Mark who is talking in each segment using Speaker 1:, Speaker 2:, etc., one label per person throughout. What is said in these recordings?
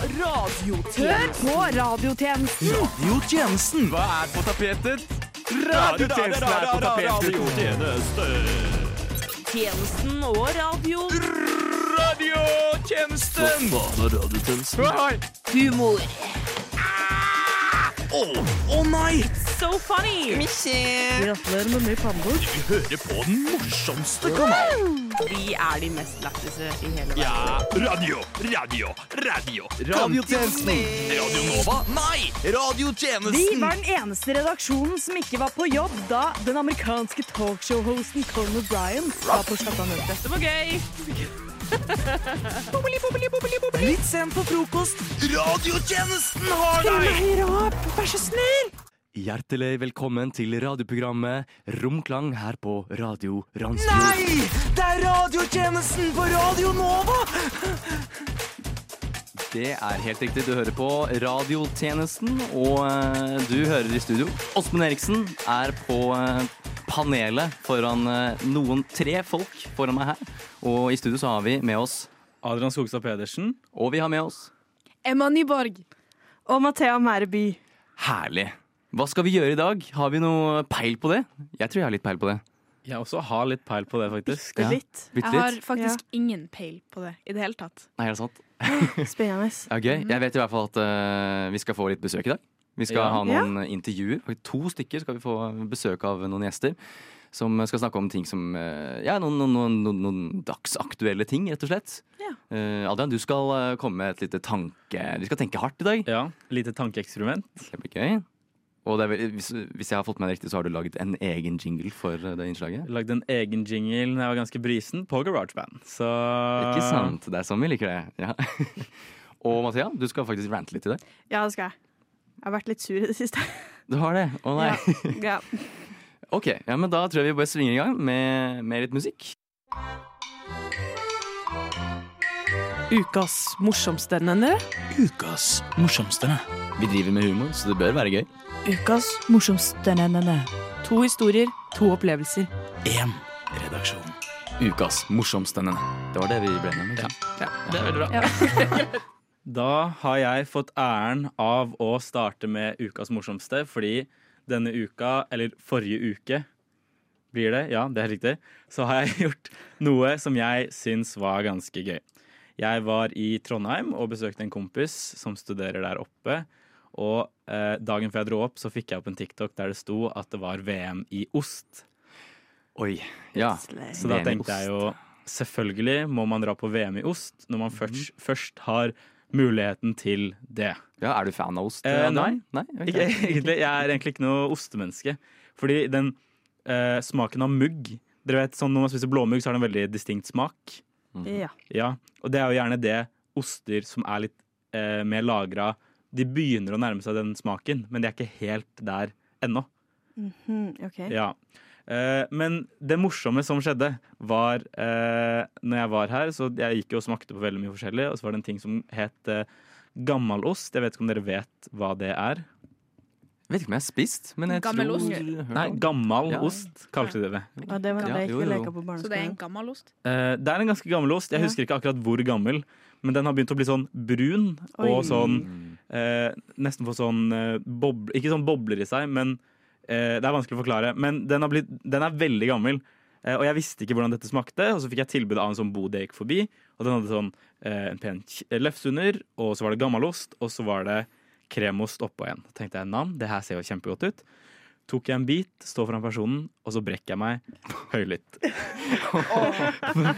Speaker 1: Hør på radiotjenesten!
Speaker 2: Radiotjenesten. Hva er på tapetet? Radiotjenesten er på tapetet.
Speaker 1: Tjenesten og radio.
Speaker 2: Radiotjenesten!
Speaker 3: Faen av radiotjenesten.
Speaker 2: Hei!
Speaker 1: Humor.
Speaker 2: Å å nei!
Speaker 1: So funny! Gratulerer med mye pannebord.
Speaker 2: Vi hører på den morsomste kanalen.
Speaker 1: Vi er de mest lættise i hele verden.
Speaker 2: Ja, radio, radio, radio.
Speaker 3: Radiotjenesten.
Speaker 2: Radio Nova? Nei!
Speaker 4: Vi
Speaker 2: Radiotjenesten.
Speaker 4: var den eneste redaksjonen som ikke var på jobb da den amerikanske talkshow-hosten Colin O'Brien var på Chattanooga.
Speaker 1: Dette var gøy!
Speaker 4: Litt sent på frokost.
Speaker 2: Radiotjenesten har deg!
Speaker 4: Vær så snill!
Speaker 3: Hjertelig velkommen til radioprogrammet Romklang her på Radio Randsfjord.
Speaker 2: Nei! Det er radiotjenesten på Radio Nova!
Speaker 3: Det er helt riktig. Du hører på radiotjenesten, og eh, du hører i studio. Åsmund Eriksen er på eh, panelet foran eh, noen tre folk foran meg her. Og i studio så har vi med oss
Speaker 5: Adrian Skogstad Pedersen.
Speaker 3: Og vi har med oss
Speaker 6: Emma Nyborg.
Speaker 4: Og Mathea Mæreby.
Speaker 3: Herlig. Hva skal vi gjøre i dag? Har vi noe peil på det? Jeg tror jeg har litt peil på det.
Speaker 5: Jeg også har litt peil på det, faktisk.
Speaker 4: Det
Speaker 3: Ja.
Speaker 4: er litt
Speaker 3: Bitte
Speaker 6: Jeg har
Speaker 3: litt?
Speaker 6: faktisk ingen peil på det i det hele tatt.
Speaker 3: Nei, er det sant?
Speaker 4: spennende.
Speaker 3: Ja, gøy. Jeg vet i hvert fall at eh, vi skal få litt besøk i dag. Vi skal
Speaker 5: Ja.
Speaker 3: ha noen intervjuer. Faktisk To stykker skal vi få besøk av noen gjester. Som skal snakke om ting som eh, Ja, noen, noen, noen, noen, noen dagsaktuelle ting, rett og slett.
Speaker 6: Ja.
Speaker 3: Eh, Adrian, du skal eh, komme med et lite tanke Vi skal tenke hardt i dag.
Speaker 5: Ja, Lite tankeeksperiment.
Speaker 3: Det blir gøy. Og det er, vel- hvis, hvis jeg har fått med det riktig, så har du laget en egen jingle for eh, det innslaget.
Speaker 5: Lagde en egen jingle da jeg var ganske brisen, på GarageBand. Så
Speaker 3: Ikke sant? Det er sånn vi liker det. Ja. Og Mathea, du skal faktisk rante litt i dag.
Speaker 6: Ja, det skal jeg. Jeg har vært litt sur i det siste.
Speaker 3: Du har det? Å nei.
Speaker 6: Ja.
Speaker 3: Ok, ja, men da tror jeg vi bare svinger i gang med, med litt musikk.
Speaker 7: Ukas morsomste, nenne.
Speaker 2: Ukas morsomste.
Speaker 3: Vi driver med humor, så det bør være gøy.
Speaker 7: Ukas morsomste, nenne. To historier, to opplevelser.
Speaker 2: Én redaksjon.
Speaker 3: Ukas morsomste. Det var det vi ble enige om. ikke sant?
Speaker 5: Da har jeg fått æren av å starte med ukas morsomste, fordi denne uka, eller forrige uke, blir det, ja, det er riktig, så har jeg gjort noe som jeg syns var ganske gøy. Jeg var i Trondheim og besøkte en kompis som studerer der oppe. Og eh, dagen før jeg dro opp, så fikk jeg opp en TikTok der det sto at det var VM i ost.
Speaker 3: Oi, ja.
Speaker 5: Så da
Speaker 3: VM i
Speaker 5: tenkte jeg jo selvfølgelig må man dra på VM i ost når man først, først har muligheten til det.
Speaker 3: ja. Er du fan av ost?
Speaker 5: Eh,
Speaker 3: Adrian?
Speaker 5: nei.
Speaker 3: nei? ok.
Speaker 5: Ikke, egentlig, jeg er egentlig ikke noe ostemenneske. Fordi den eh, smaken av mugg Dere vet, sånn Når man spiser blåmugg, så har den en veldig distinkt smak.
Speaker 4: Ja.
Speaker 5: Ja, Og det er jo gjerne det oster som er litt eh, mer lagra De begynner å nærme seg den smaken, men de er ikke helt der ennå.
Speaker 4: Mm, ok.
Speaker 5: Ja. Eh, men det morsomme som skjedde, var eh, Når jeg var her, så jeg gikk jo og smakte på veldig mye forskjellig, og så var det en ting som het eh, gammalost. Jeg vet ikke om dere vet hva det er.
Speaker 3: Vet ikke om jeg har spist, men jeg
Speaker 6: Gammel
Speaker 3: tror
Speaker 6: ost.
Speaker 5: Nei, gammal
Speaker 3: Ja.
Speaker 5: ost kalte de det.
Speaker 4: Ja, det var det
Speaker 3: Ja,
Speaker 4: jeg
Speaker 3: jo,
Speaker 4: ikke
Speaker 3: jo.
Speaker 4: leka på
Speaker 6: Så det er en
Speaker 4: barneskolen.
Speaker 6: gammel ost?
Speaker 5: Eh, det er en ganske gammel ost. Jeg
Speaker 4: Ja.
Speaker 5: husker ikke akkurat hvor gammel, men den har begynt å bli sånn brun
Speaker 4: Oi.
Speaker 5: og sånn eh, Nesten få sånn eh, boble, Ikke sånn bobler i seg, men eh, Det er vanskelig å forklare. Men den, har blitt, den er veldig gammel. Eh, og jeg visste ikke hvordan dette smakte, og så fikk jeg tilbud av en sånn bod jeg gikk forbi. Og den hadde sånn eh, en pen k- lefse under, og så var det gammelost, og så var det kremost oppå igjen. Da tenkte jeg nam, det her ser jo kjempegodt ut. Tok jeg en bit, står foran personen, og så brekker jeg meg høylytt.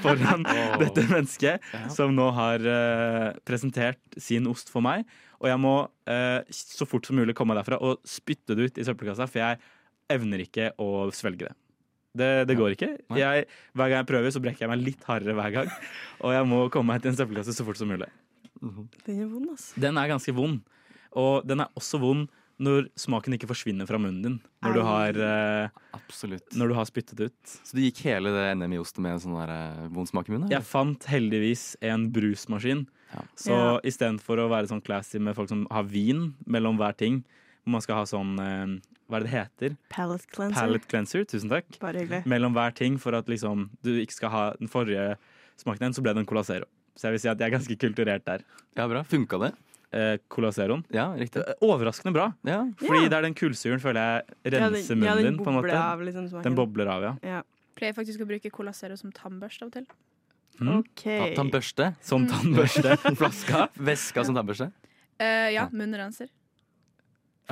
Speaker 5: foran dette mennesket som nå har eh, presentert sin ost for meg. Og jeg må eh, så fort som mulig komme meg derfra og spytte det ut i søppelkassa, for jeg evner ikke å svelge det. Det, det går ikke.
Speaker 3: Nei.
Speaker 5: Jeg, hver gang jeg prøver, så brekker jeg meg litt hardere hver gang. Og jeg må komme meg til en søppelkasse så fort som mulig.
Speaker 4: Den er vond, altså.
Speaker 5: Den er ganske vond. Og den er også vond når smaken ikke forsvinner fra munnen din. Når du har, eh,
Speaker 3: Absolutt.
Speaker 5: når du har spyttet ut.
Speaker 3: Så du gikk hele det NM i osten med en sånn der eh, vond smak i munnen? eller?
Speaker 5: Jeg fant heldigvis en brusmaskin.
Speaker 3: Ja.
Speaker 5: Så
Speaker 4: Ja.
Speaker 5: istedenfor å være sånn classy med folk som har vin mellom hver ting, hvor man skal ha sånn eh, Hva er det det heter?
Speaker 4: Palate cleanser.
Speaker 5: Palette cleanser. Tusen takk.
Speaker 4: Bare hyggelig.
Speaker 5: Mellom hver ting for at liksom du ikke skal ha den forrige smaken igjen, så ble det en Cola Zero.
Speaker 8: Så jeg vil si at jeg er ganske kulturert der.
Speaker 3: Ja, bra. Funka det?
Speaker 8: Eh, Cola Zeroen.
Speaker 3: Ja, riktig.
Speaker 8: Eh, Overraskende bra.
Speaker 3: Ja.
Speaker 8: Fordi
Speaker 9: Ja.
Speaker 8: det er den kullsyren føler jeg
Speaker 6: Ja,
Speaker 8: renser munnen
Speaker 6: den
Speaker 8: din. på en
Speaker 6: bobler
Speaker 8: måte
Speaker 6: Av, liksom, smaken.
Speaker 8: Den bobler av, ja.
Speaker 6: Ja.
Speaker 9: Pleier faktisk å bruke Cola Zero som tannbørste av og til.
Speaker 8: Mm.
Speaker 6: OK.
Speaker 3: Ta tannbørste.
Speaker 6: Mm.
Speaker 8: Som tannbørste. Flaska.
Speaker 3: Veska som tannbørste.
Speaker 9: Eh, ja, munnrenser.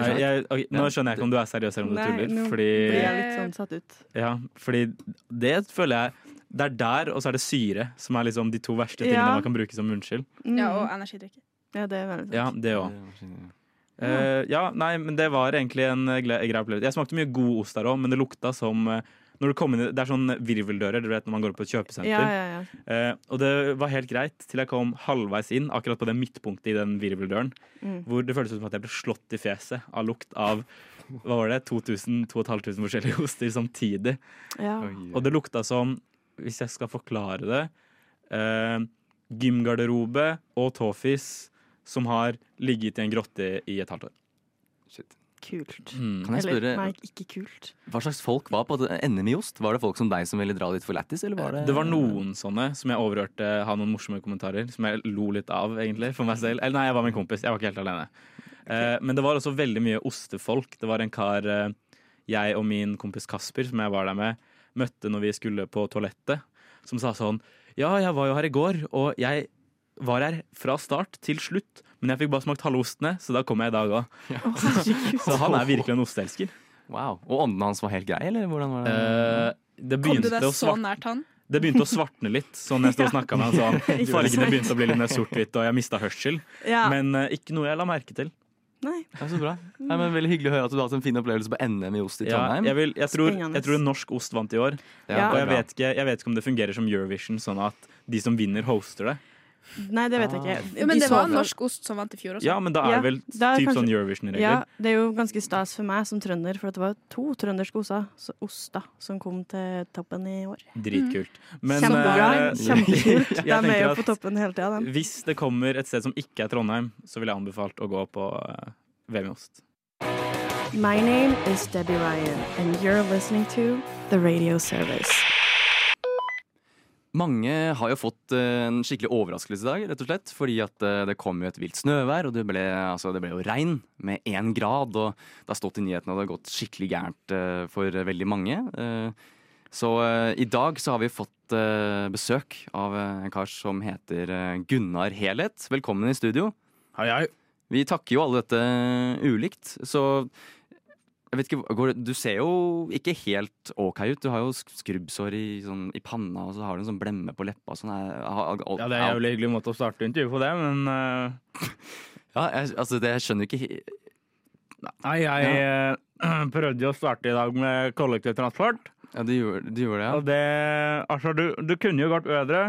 Speaker 8: Jeg, jeg, ok, nå skjønner jeg ikke om du er seriøs eller om du
Speaker 6: Nei,
Speaker 8: tuller.
Speaker 6: nå
Speaker 8: Fordi,
Speaker 6: blir jeg litt sånn satt ut.
Speaker 8: ja, fordi det føler jeg Det er der, og så er det syre, som er liksom de to verste tingene
Speaker 6: Ja.
Speaker 8: man kan bruke som munnskyld.
Speaker 6: Mm.
Speaker 9: Ja, og energidrikke.
Speaker 6: Ja, det er veldig sant.
Speaker 8: Ja, det også.
Speaker 3: Ja.
Speaker 8: Eh, ja, nei, men det var egentlig en eh, gle- grei opplevelse. Jeg smakte mye god ost der òg, men det lukta som eh, når du kom inn, i- Det er sånn virveldører du vet, når man går på et kjøpesenter.
Speaker 6: sånn. Ja, ja, ja.
Speaker 8: Eh, og det var helt greit til jeg kom halvveis inn, akkurat på det midtpunktet i den virveldøren,
Speaker 6: Mm.
Speaker 8: hvor det føltes ut som at jeg ble slått i fjeset av lukt av hva var det, 2000-2500 forskjellige oster samtidig.
Speaker 6: ja.
Speaker 8: Og det lukta som, hvis jeg skal forklare det, eh, gymgarderobe og tåfis som har ligget i en grotte i et halvt år.
Speaker 3: Shit.
Speaker 6: Kult.
Speaker 8: Mm.
Speaker 3: Kan jeg
Speaker 6: Eller,
Speaker 3: spørre,
Speaker 6: nei, ikke kult.
Speaker 3: Hva slags folk var på det- NM i ost? Var det folk som deg som ville dra dit for lættis? eller var det
Speaker 8: Det var noen sånne som jeg overhørte ha noen morsomme kommentarer, som jeg lo litt av, egentlig, for meg selv. Eller nei, jeg var min kompis, jeg var ikke helt alene. Eh, men det var også veldig mye ostefolk. Det var en kar eh, jeg og min kompis Kasper, som jeg var der med, møtte når vi skulle på toalettet, som sa sånn Ja, jeg var jo her i går, og jeg var her fra start til slutt, men jeg fikk bare smakt halve ostene, så da kom jeg i dag òg. Så han er virkelig en osteelsker.
Speaker 3: Wow. Og åndene hans var helt greie, eller hvordan var det?
Speaker 8: Eh, det
Speaker 9: Kom du
Speaker 8: begynte
Speaker 9: deg
Speaker 8: å
Speaker 9: så
Speaker 8: svarte
Speaker 9: nært han?
Speaker 8: det begynte å svartne litt, sånn jeg stod og snakka med han. Sånn. Fargene begynte å bli litt mer sort-hvitt, og jeg mista hørsel.
Speaker 6: Ja.
Speaker 8: Men eh, ikke noe jeg la merke til.
Speaker 6: Nei.
Speaker 3: Ja, så bra. Nei, men veldig hyggelig å høre at du har hatt en fin opplevelse på NM i ost i
Speaker 8: Ja,
Speaker 3: Trondheim.
Speaker 8: jeg, vil, jeg, tror,
Speaker 6: Spennende.
Speaker 8: jeg tror en norsk ost vant i år,
Speaker 6: Ja.
Speaker 8: og
Speaker 3: det er
Speaker 8: jeg
Speaker 3: bra.
Speaker 8: vet, ikke, jeg vet ikke om det fungerer som Eurovision, sånn at de som vinner, hoster det.
Speaker 6: nei, det
Speaker 8: Ah.
Speaker 6: vet jeg ikke.
Speaker 9: Jo, men
Speaker 6: De
Speaker 9: det
Speaker 6: så-
Speaker 9: var en norsk ost som vant i fjor også.
Speaker 8: Ja, men da er det vel
Speaker 6: Ja, da er
Speaker 8: typ
Speaker 6: kanskje-
Speaker 8: sånn
Speaker 6: Ja,
Speaker 8: Eurovision-regler.
Speaker 6: det er jo ganske stas for meg som trønder, for at det var to trønderske osa, så osta som kom til toppen i år.
Speaker 8: Dritkult. Men
Speaker 6: Mm. Kjempebra.
Speaker 8: eh,
Speaker 6: Kjempekult.
Speaker 8: jeg
Speaker 6: De er jo
Speaker 8: tenker
Speaker 6: på toppen hele tida,
Speaker 8: at
Speaker 6: de.
Speaker 8: hvis det kommer et sted som ikke er Trondheim, så ville jeg anbefalt å gå på eh, VM i ost.
Speaker 6: My name is Debbie Ryan, and you're listening to The Radio Service.
Speaker 3: Mange har jo fått eh, en skikkelig overraskelse i dag, rett og slett. Fordi at eh, det kom jo et vilt snøvær, og det ble, altså, det ble jo regn med én grad. Og det har stått i nyhetene at det har gått skikkelig gærent eh, for veldig mange. Eh, Så eh, i dag så har vi fått eh, besøk av eh, en kar som heter eh, Gunnar Helhet. Velkommen i studio.
Speaker 5: Hei, hei.
Speaker 3: Vi takker jo alle dette eh, ulikt, så jeg vet ikke, går, det- Du ser jo ikke helt ok ut. Du har jo sk- skrubbsår i, sånn, i panna, og så har du en sånn blemme på leppa. og Sånn, er- har- har-
Speaker 5: Ja, det er en jævlig hyggelig måte å starte intervjuet på det, men eh,
Speaker 3: Ja, jeg, altså, det, jeg skjønner ikke he-
Speaker 5: Nei, jeg eh, prøvde jo å starte i dag med kollektivtransport,
Speaker 3: Ja, du gjorde, du gjorde det, ja.
Speaker 5: og det Altså, du, du kunne jo gått bedre.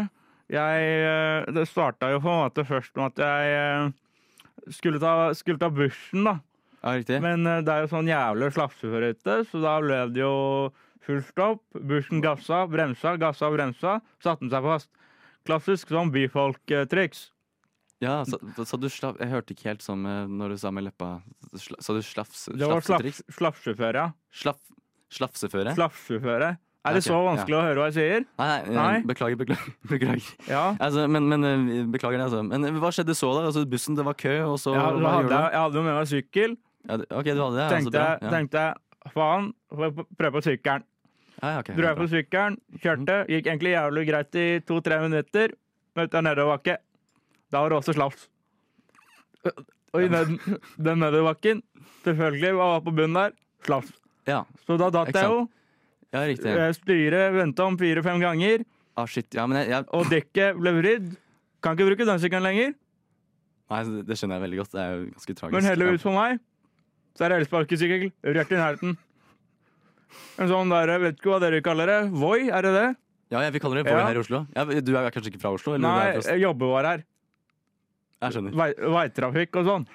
Speaker 5: Jeg eh, Det starta jo på en måte først med at jeg eh, skulle ta, skulle ta bussen, da.
Speaker 3: ja riktig.
Speaker 5: Men eh, det er jo sånn jævlig slafseføre ute, så da ble det jo full stopp. Bussen gassa, bremsa, gassa, bremsa. Satte den seg fast. Klassisk sånn byfolk-triks.
Speaker 3: Ja, så, så du slapp, jeg hørte ikke helt sånn med, når du sa med leppa. Sla, så du slafs,
Speaker 5: Det var
Speaker 3: slafsetriks?
Speaker 5: slafs, slafseføre, ja.
Speaker 3: Slaff, slafseføre?
Speaker 5: Slafseføre. Er det
Speaker 3: Ok,
Speaker 5: så vanskelig å høre hva jeg sier?
Speaker 3: Nei, nei,
Speaker 5: Nei.
Speaker 3: beklager, beklager. beklager.
Speaker 5: Ja.
Speaker 3: Altså, men, men eh, beklager det, altså. Men hva skjedde så, da? Altså, bussen, det var kø, og så
Speaker 5: Jeg,
Speaker 3: hva
Speaker 5: hadde,
Speaker 3: gjorde du?
Speaker 5: jeg hadde jo med meg sykkel.
Speaker 3: Ja, det- ok, du hadde det. altså,
Speaker 5: Tenkte,
Speaker 3: bra.
Speaker 5: jeg- tenkte jeg faen, får jeg prøve på sykkelen.
Speaker 3: ja. Ja, ok, ja,
Speaker 5: Dro jeg
Speaker 3: bra. Mhm.
Speaker 5: på sykkelen, kjørte. Gikk egentlig jævlig greit i to-tre minutter. Møtte jeg nedoverbakke. Da var det også slafs. Og i den, den nedoverbakken, selvfølgelig, hva var på bunnen der? Slafs.
Speaker 3: Ja,
Speaker 5: Så da datt
Speaker 3: Ikke
Speaker 5: jeg jo.
Speaker 3: ja, riktig.
Speaker 5: Eh, Styret venta om fire-fem ganger,
Speaker 3: Ah, shit. Ja, men jeg, jeg,
Speaker 5: og dekket ble vridd. Kan ikke bruke den sykkelen lenger.
Speaker 3: nei, det- det skjønner jeg veldig godt. Det er jo ganske tragisk.
Speaker 5: Men heldigvis for meg så er det elsparkesykkel rett i nærheten. En sånn der, vet ikke hva dere kaller det. Voi, er det det?
Speaker 3: Ja, ja, vi kaller det Voi
Speaker 5: Ja.
Speaker 3: her i Oslo. Ja, du er kanskje ikke fra Oslo? Eller du er
Speaker 5: Nei,
Speaker 3: fra,
Speaker 5: jobbevar her.
Speaker 3: jeg skjønner.
Speaker 5: Vei- Veitrafikk og sånn.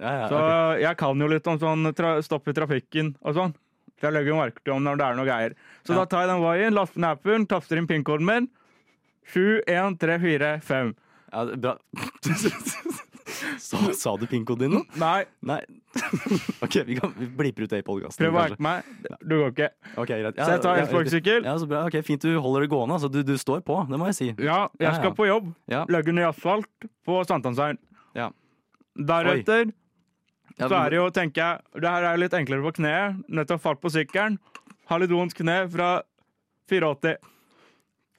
Speaker 3: Ja, ja,
Speaker 5: Så
Speaker 3: ok.
Speaker 5: jeg kan jo litt om sånn tra stopp i trafikken og sånn. Så jeg legger jo merke til om når det er noe greier. Så
Speaker 3: Ja.
Speaker 5: da tar jeg den voien, laster ned appen, taster inn pinkoden min. 71345.
Speaker 3: ja, det- bra. Sa, sa du pinkoden din nå?
Speaker 5: Nei,
Speaker 3: Nei, Ok, vi, kan, vi bliper ut det i podkasten.
Speaker 5: Prøv å hacke meg. Du går ikke. Så jeg tar en sparkesykkel.
Speaker 3: Ja, så bra. Ok, Fint du holder det gående. Altså, du, du står på, det må jeg si.
Speaker 5: Ja,
Speaker 3: Ja,
Speaker 5: jeg
Speaker 3: ja.
Speaker 5: skal på jobb.
Speaker 3: Ja.
Speaker 5: Legge ned asfalt på Sankthanshaugen.
Speaker 3: Ja.
Speaker 5: Deretter
Speaker 3: Ja,
Speaker 5: så er det jo, tenker jeg, det her er litt enklere på kneet. Nettopp falt på sykkelen. Har litt vondt kne fra 84.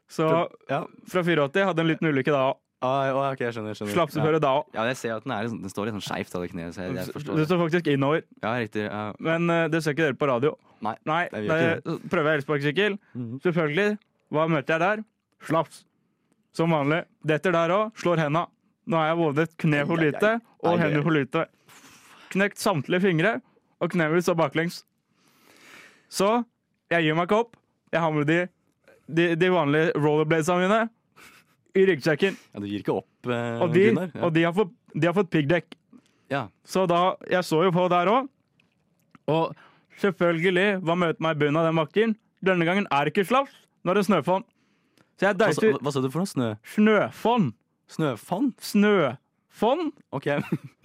Speaker 5: Så
Speaker 3: ja.
Speaker 5: fra 84 hadde en liten ulykke da òg.
Speaker 3: Ah, ja, ok, jeg skjønner. skjønner.
Speaker 5: Slapp selvfølgelig da òg.
Speaker 3: Ja. ja, jeg ser at den, er, litt sånn- den står litt sånn skeivt av det kneet. Så jeg, jeg
Speaker 5: Det
Speaker 3: forstår det.
Speaker 5: står faktisk innover.
Speaker 3: Ja, riktig. Ja.
Speaker 5: Men eh, det ser ikke dere på radio.
Speaker 3: Nei.
Speaker 5: Nei,
Speaker 3: Nei, vi
Speaker 5: da
Speaker 3: gjør ikke Mhm.
Speaker 5: prøver jeg elsparkesykkel. Selvfølgelig. Hva møter jeg der? Slaps. Som vanlig. Detter der òg. Slår henda. Nå har jeg både et kne for
Speaker 3: Ai, ai, ai.
Speaker 5: lite
Speaker 3: Ai, ai,
Speaker 5: og hender
Speaker 3: ai.
Speaker 5: for lite. Knekt samtlige fingre, og kneet mitt står baklengs. Så jeg gir meg ikke opp. Jeg har med de, de, de vanlige rollerbladesa mine i ryggsekken.
Speaker 3: ja, Du gir ikke opp, eh,
Speaker 5: Og de,
Speaker 3: Gunnar? Ja.
Speaker 5: og de har fått, de har fått piggdekk.
Speaker 3: Ja.
Speaker 5: Så da, jeg så jo på der òg. Og selvfølgelig, hva møter meg i bunnen av den bakken? Denne gangen er det ikke slaps, nå er det snøfonn. Så jeg
Speaker 3: Hva, sa-
Speaker 5: deiser
Speaker 3: hva, hva sa du for noe? Snø?
Speaker 5: snøfonn.
Speaker 3: Snøfonn?
Speaker 5: Snøfonn?
Speaker 3: Ok.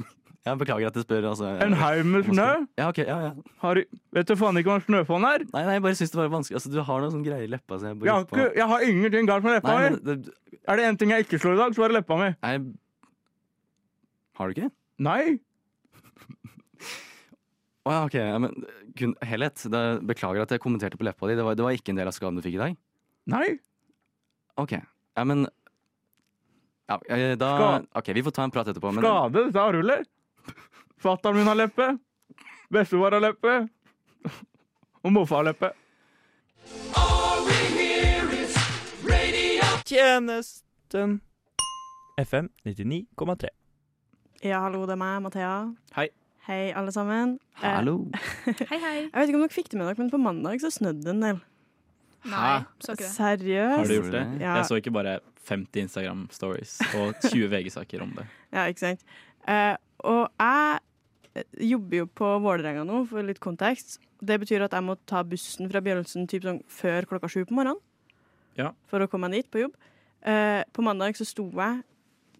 Speaker 3: Jeg beklager at jeg spør. Altså,
Speaker 5: En haug med snø?
Speaker 3: Ja, ok, ja, ja.
Speaker 5: Har, du- vet du faen ikke hva en snøfonn er?
Speaker 3: Nei, nei, jeg bare syns det var vanskelig. Altså, du har noen sånne greier i leppa. Så jeg bare
Speaker 5: Jeg har,
Speaker 3: lurer på-
Speaker 5: ikke, jeg har ingenting galt med leppa
Speaker 3: Nei,
Speaker 5: mi.
Speaker 3: men det,
Speaker 5: Er det én ting jeg ikke slår i dag, så er det leppa mi.
Speaker 3: nei, Har du ikke?
Speaker 5: Nei.
Speaker 3: Å ja, ok. Ja, men kun helhet. Da, beklager at jeg kommenterte på leppa di. Det var, det var ikke en del av skaden du fikk i dag.
Speaker 5: Nei.
Speaker 3: Ok. Ja, men ja, eh, da,
Speaker 5: Skade.
Speaker 3: Ok, vi får ta en prat etterpå. Men,
Speaker 5: Skade, dette er arvelig. Fatter'n min har leppe. Bestefar har leppe. Og morfar har leppe.
Speaker 10: Tjenesten. FM 99,3.
Speaker 6: Ja, hallo, det er meg, Mathea.
Speaker 5: Hei.
Speaker 6: Hei, alle sammen. Eh,
Speaker 3: Hallo.
Speaker 9: Hei, hei.
Speaker 6: Jeg vet ikke om dere fikk det med dere, men på mandag så snødde det en del.
Speaker 9: Nei, så ikke det.
Speaker 8: Har du
Speaker 6: Seriøst?
Speaker 8: gjort det?
Speaker 6: Ja.
Speaker 8: Jeg så ikke bare 50 Instagram-stories og 20 VG-saker om det.
Speaker 6: Ja, ikke sant. Eh, og jeg eh, jobber jo på Vålerenga nå, for litt kontekst. Det betyr at jeg må ta bussen fra Bjørnsen typ sånn før klokka sju på morgenen.
Speaker 8: Ja.
Speaker 6: For å komme meg dit på jobb. Eh, på mandag så sto jeg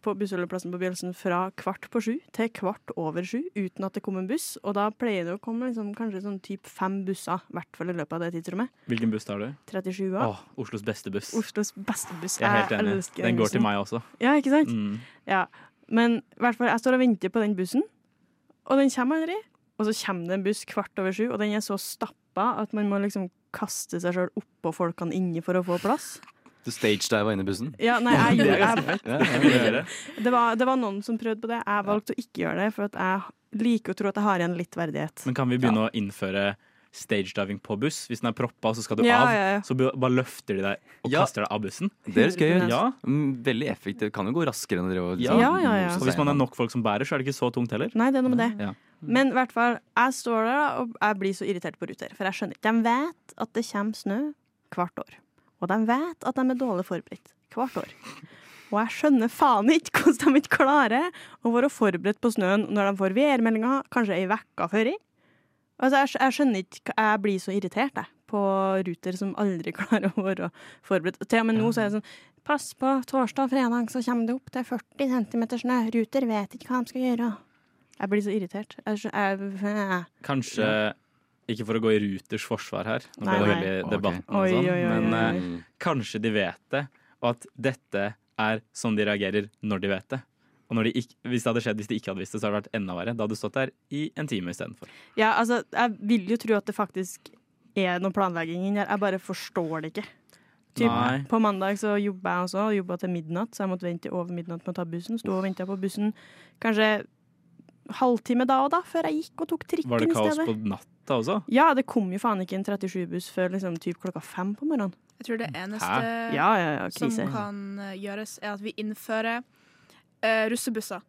Speaker 6: på bussholdeplassen på Bjølsen fra kvart på sju til kvart over sju uten at det kom en buss. Og da pleier det å komme liksom, kanskje sånn typ fem busser, i hvert fall i løpet av det tidsrommet.
Speaker 8: Hvilken buss tar du?
Speaker 6: 37
Speaker 8: Åh,
Speaker 6: år.
Speaker 8: Oslos beste buss.
Speaker 6: Oslos beste buss.
Speaker 8: Jeg er helt enig.
Speaker 6: elsker
Speaker 8: Den går
Speaker 6: bussen.
Speaker 8: til meg også.
Speaker 6: Ja, ikke sant?
Speaker 8: Mm.
Speaker 6: Ja, men i hvert fall, jeg står og venter på den bussen, og den kommer aldri. Og så kommer det en buss kvart over sju, og den er så stappa at man må liksom kaste seg sjøl oppå folkene inni for å få plass.
Speaker 3: Du stagediva inne i bussen?
Speaker 6: Ja, nei, jeg,
Speaker 8: Det er
Speaker 6: gjorde-
Speaker 8: ganske
Speaker 6: jeg,
Speaker 8: fett. Jeg vil gjøre det.
Speaker 6: det, var, det var noen som prøvde på det. Jeg valgte å ikke gjøre det, for at jeg liker å tro at jeg har igjen litt verdighet.
Speaker 8: Men kan vi begynne å innføre stagediving på buss? Hvis den er proppa, og så skal du
Speaker 6: Ja,
Speaker 8: av,
Speaker 6: ja, ja.
Speaker 8: så bare løfter de deg og
Speaker 3: Ja.
Speaker 8: kaster deg av bussen.
Speaker 3: Det høres gøy ut.
Speaker 8: Ja.
Speaker 3: Mm, Veldig effektivt. Kan jo gå raskere enn å drive og liksom
Speaker 8: Ja.
Speaker 6: Ja, ja, ja.
Speaker 3: mose
Speaker 8: Og hvis man
Speaker 3: seg
Speaker 8: er nok folk som bærer, så er det ikke så tungt heller.
Speaker 6: Nei, det er noe med det.
Speaker 8: Ja.
Speaker 6: Men i hvert fall, jeg står der, da, og jeg blir så irritert på Ruter. For jeg skjønner ikke. De vet at det kommer snø hvert år. Og de vet at de er dårlig forberedt hvert år. Og jeg skjønner faen ikke hvordan de ikke klarer å være forberedt på snøen når de får værmeldinger kanskje ei uke før i. Altså, jeg, skj- jeg skjønner ikke hva- Jeg blir så irritert jeg, på Ruter som aldri klarer å være forberedt. Og Til og med nå så er det sånn Pass på, torsdag og fredag så kommer det opp til 40 cm snø. Ruter vet ikke hva de skal gjøre. Jeg blir så irritert. Jeg, skjø- jeg,
Speaker 8: Kanskje ikke for å gå i Ruters forsvar her, nå
Speaker 6: Nei,
Speaker 8: ble det
Speaker 6: nei.
Speaker 8: veldig
Speaker 3: Ok.
Speaker 8: debatt og
Speaker 6: Oi,
Speaker 8: sånn,
Speaker 6: oi, oi, oi,
Speaker 8: men eh,
Speaker 3: Mm.
Speaker 8: kanskje de vet det, og at dette er sånn de reagerer når de vet det. Og når de ikk- hvis det hadde skjedd hvis de ikke hadde visst det, så hadde det vært enda verre. Da hadde du stått der i en time istedenfor.
Speaker 6: ja, altså, jeg vil jo tro at det faktisk er noe planlegging inni her. Jeg bare forstår det ikke. Typ,
Speaker 8: Nei.
Speaker 6: på mandag så jobba jeg også, jobba til midnatt, så jeg måtte vente til over midnatt med å ta bussen. Sto og venta på bussen kanskje halvtime da og da, før jeg gikk og tok trikken
Speaker 8: Var det
Speaker 6: i
Speaker 8: kaos
Speaker 6: stedet.
Speaker 8: på natta også?
Speaker 6: Ja, det kom jo faen ikke en 37-buss før liksom typ klokka fem på morgenen.
Speaker 9: Jeg tror det eneste
Speaker 6: Ja, ja, ja,
Speaker 9: som
Speaker 6: krise.
Speaker 9: kan eh, gjøres, er at vi innfører eh, russebusser.